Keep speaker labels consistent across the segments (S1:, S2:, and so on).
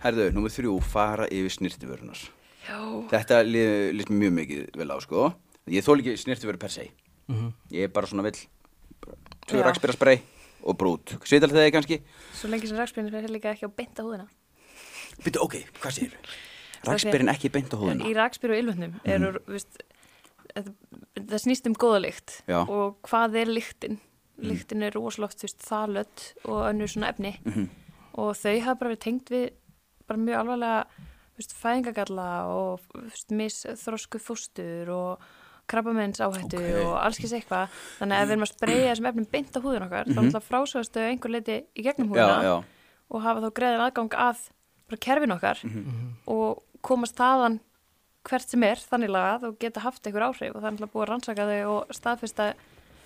S1: Herðu, nummer þrjú, fara yfir snirtivörunar.
S2: Já.
S1: Þetta lið- líst mér mjög mikið vel á, sko. Ég þól ekki snirtivöru per se.
S3: Mhm.
S1: Ég er bara svona vill, tvö
S2: Já.
S1: rakspyrra spray og brút. Svital þegar kannski?
S2: Svo lengi sem rakspyrinn er líka ekki á beinta húðina.
S1: Býttu, ok, hvað segir við? Rakspyrrin ekki beint á
S2: En í
S1: hóðuna.
S2: rakspyr og ylvöndum
S1: Mhm.
S2: eru, mm. veist, þetta, það snýst um góða lykt
S1: Já. Mhm.
S2: og hvað er lyktin? Lyktin er rosalegt, þú veist, þalött og önnur svona efni
S1: Mhm.
S2: og þau hafa bara verið tengd við bara mjög alvarlega, þú veist, fæðingagalla og þú veist, misþrosku fóstur og krabbamenns áhættu
S1: Ókei.
S2: og alls kynst eitthvað þannig að ef við erum að spreyja þessum efnum beint á húðun okkar, mm -hmm. þá náttúrulega frásöðast þau að einhver leiti í gegnum
S1: Mhm. Já,
S2: húðuna
S1: já.
S2: og hafa þá greiðan aðgang að bara kerfin okkar
S1: Mhm.
S3: Mhm.
S2: og komast þaðan hvert sem er þannig lagað og geta haft einhver áhrif og það er alltaf búið að rannsaka þau og staðfesta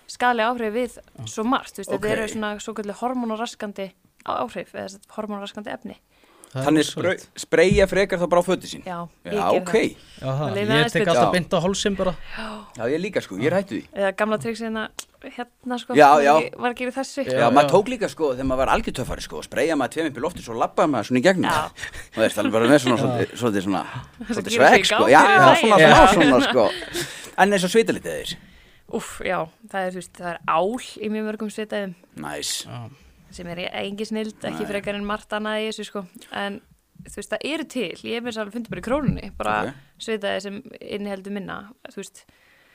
S2: skali áhrif við svo margt, þú veist,
S1: Ok.
S2: þetta eru svona svo kallir hormonaraskandi á- áhrif eða sem sagt hormonaraskandi efni
S3: Það er
S1: Þannig
S3: rosalegt.
S1: spra- spreyja frekar þá bara á fötu sín.
S2: Já, ég
S1: Já,
S2: geri
S1: ok.
S3: Já, það,
S2: Leiðin
S3: ég
S2: aðeins
S3: tek
S2: betur.
S3: alltaf
S1: Já.
S3: beint á hálsinn bara
S1: Já, ég líka sko, ég er hættu því.
S2: eða gamla triksina hérna sko
S1: Já,
S2: var
S1: já.
S2: ekki- var að gera þessu
S1: Já,
S3: Já,
S1: maður
S3: já.
S1: tók líka sko, þegar maður var algjörtöfari sko, spreyja maður tveim upp í lofti svo labbaði maður svona í gegnum.
S2: Já.
S1: Þú veist, alveg bara með svona, svolítið, svolítið svona, svolítið
S2: gíra sig
S1: sveg
S2: í
S1: sko.
S2: gang
S1: Já,
S2: fyrir
S1: svona, svona,
S2: daginn. Já.
S1: svona, sko. En eins og svitalitið þeir.
S2: Úff, já, það er, þú veist, það er ál í mjög mörgum svitaðum
S1: Næs.
S2: sem er engi snild, ekki frekar en margt annað í þessu sko, en þú veist, það eru til, ég hef mér svolítið fundið bara í krónunni bara
S1: Ok.
S2: svitaði sem inniheldur minna þú veist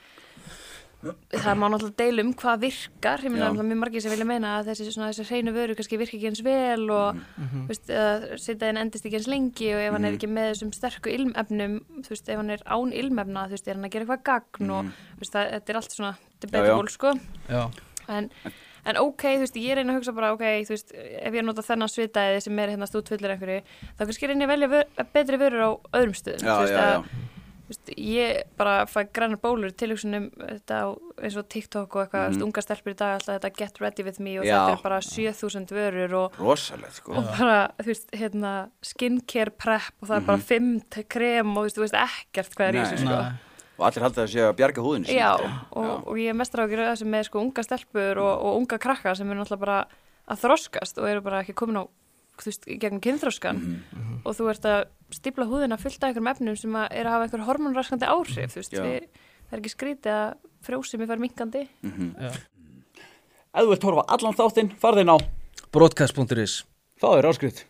S2: það má náttúrulega deila um hvað virkar ég meina
S1: Já.
S2: það er mjög margir sem vilja meina að þessi, svona, þessi hreinu vöru kannski virka ekki eins vel og
S1: Mhm.
S2: mm -hmm. svitaðin endist ekki eins lengi og ef hann er ekki með þessum sterku ilmefnum, þú veist, ef hann er án ilmefna þú veist, er hann að gera eitthvað gagn og
S1: Mhm.
S2: þú veist, það, þetta er allt svona debatable sko
S3: Já,
S2: en, en ok, þú veist, ég reyna að hugsa bara ok, þú veist, ef ég nota þennan svitaði sem er hérna stútvöldur einhverju þá kannski reyna ég að velja vör, betri vörur á öðrum stöðum
S1: Já,
S2: þú veist,
S1: já, já.
S2: Að, þú veist, ég bara fæ grannar bólur tilhugsunum þetta á eins og TikTok og eitthvað, mm. unga stelpur í dag alltaf þetta get ready with me og
S1: Mhm. Já.
S2: þetta er bara 7000 vörur og,
S1: Rosalegt sko.
S2: og bara, þú veist, hérna skincare prep og það er
S1: Mhm.
S2: bara 5 krem og þú veist, þú veist ekkert hvað er í
S1: Nei.
S2: þessu sko.
S3: Nei.
S1: Og allir halda þessi að bjarga húðinu sín.
S2: Já,
S1: sko.
S2: og, og ég er mestar á að gera þessu með sko unga stelpur og, og unga krakka sem eru náttúrulega bara að þroskast og eru bara ekki komin á, þú veist, gegn kynþroskan
S1: Mhm,
S2: og þú ert að stípla húðina fullt af einhverjum efnum sem að er að hafa einhver hormonraskandi áhrif, þú veist,
S1: Já.
S2: við, það er ekki skrítið að frjósið mér fara minkandi.
S1: mhm.
S3: já.
S1: Ef þú vilt horfa á allan þáttinn, farðin á.
S3: Broadcast.is
S1: Það er áskrift.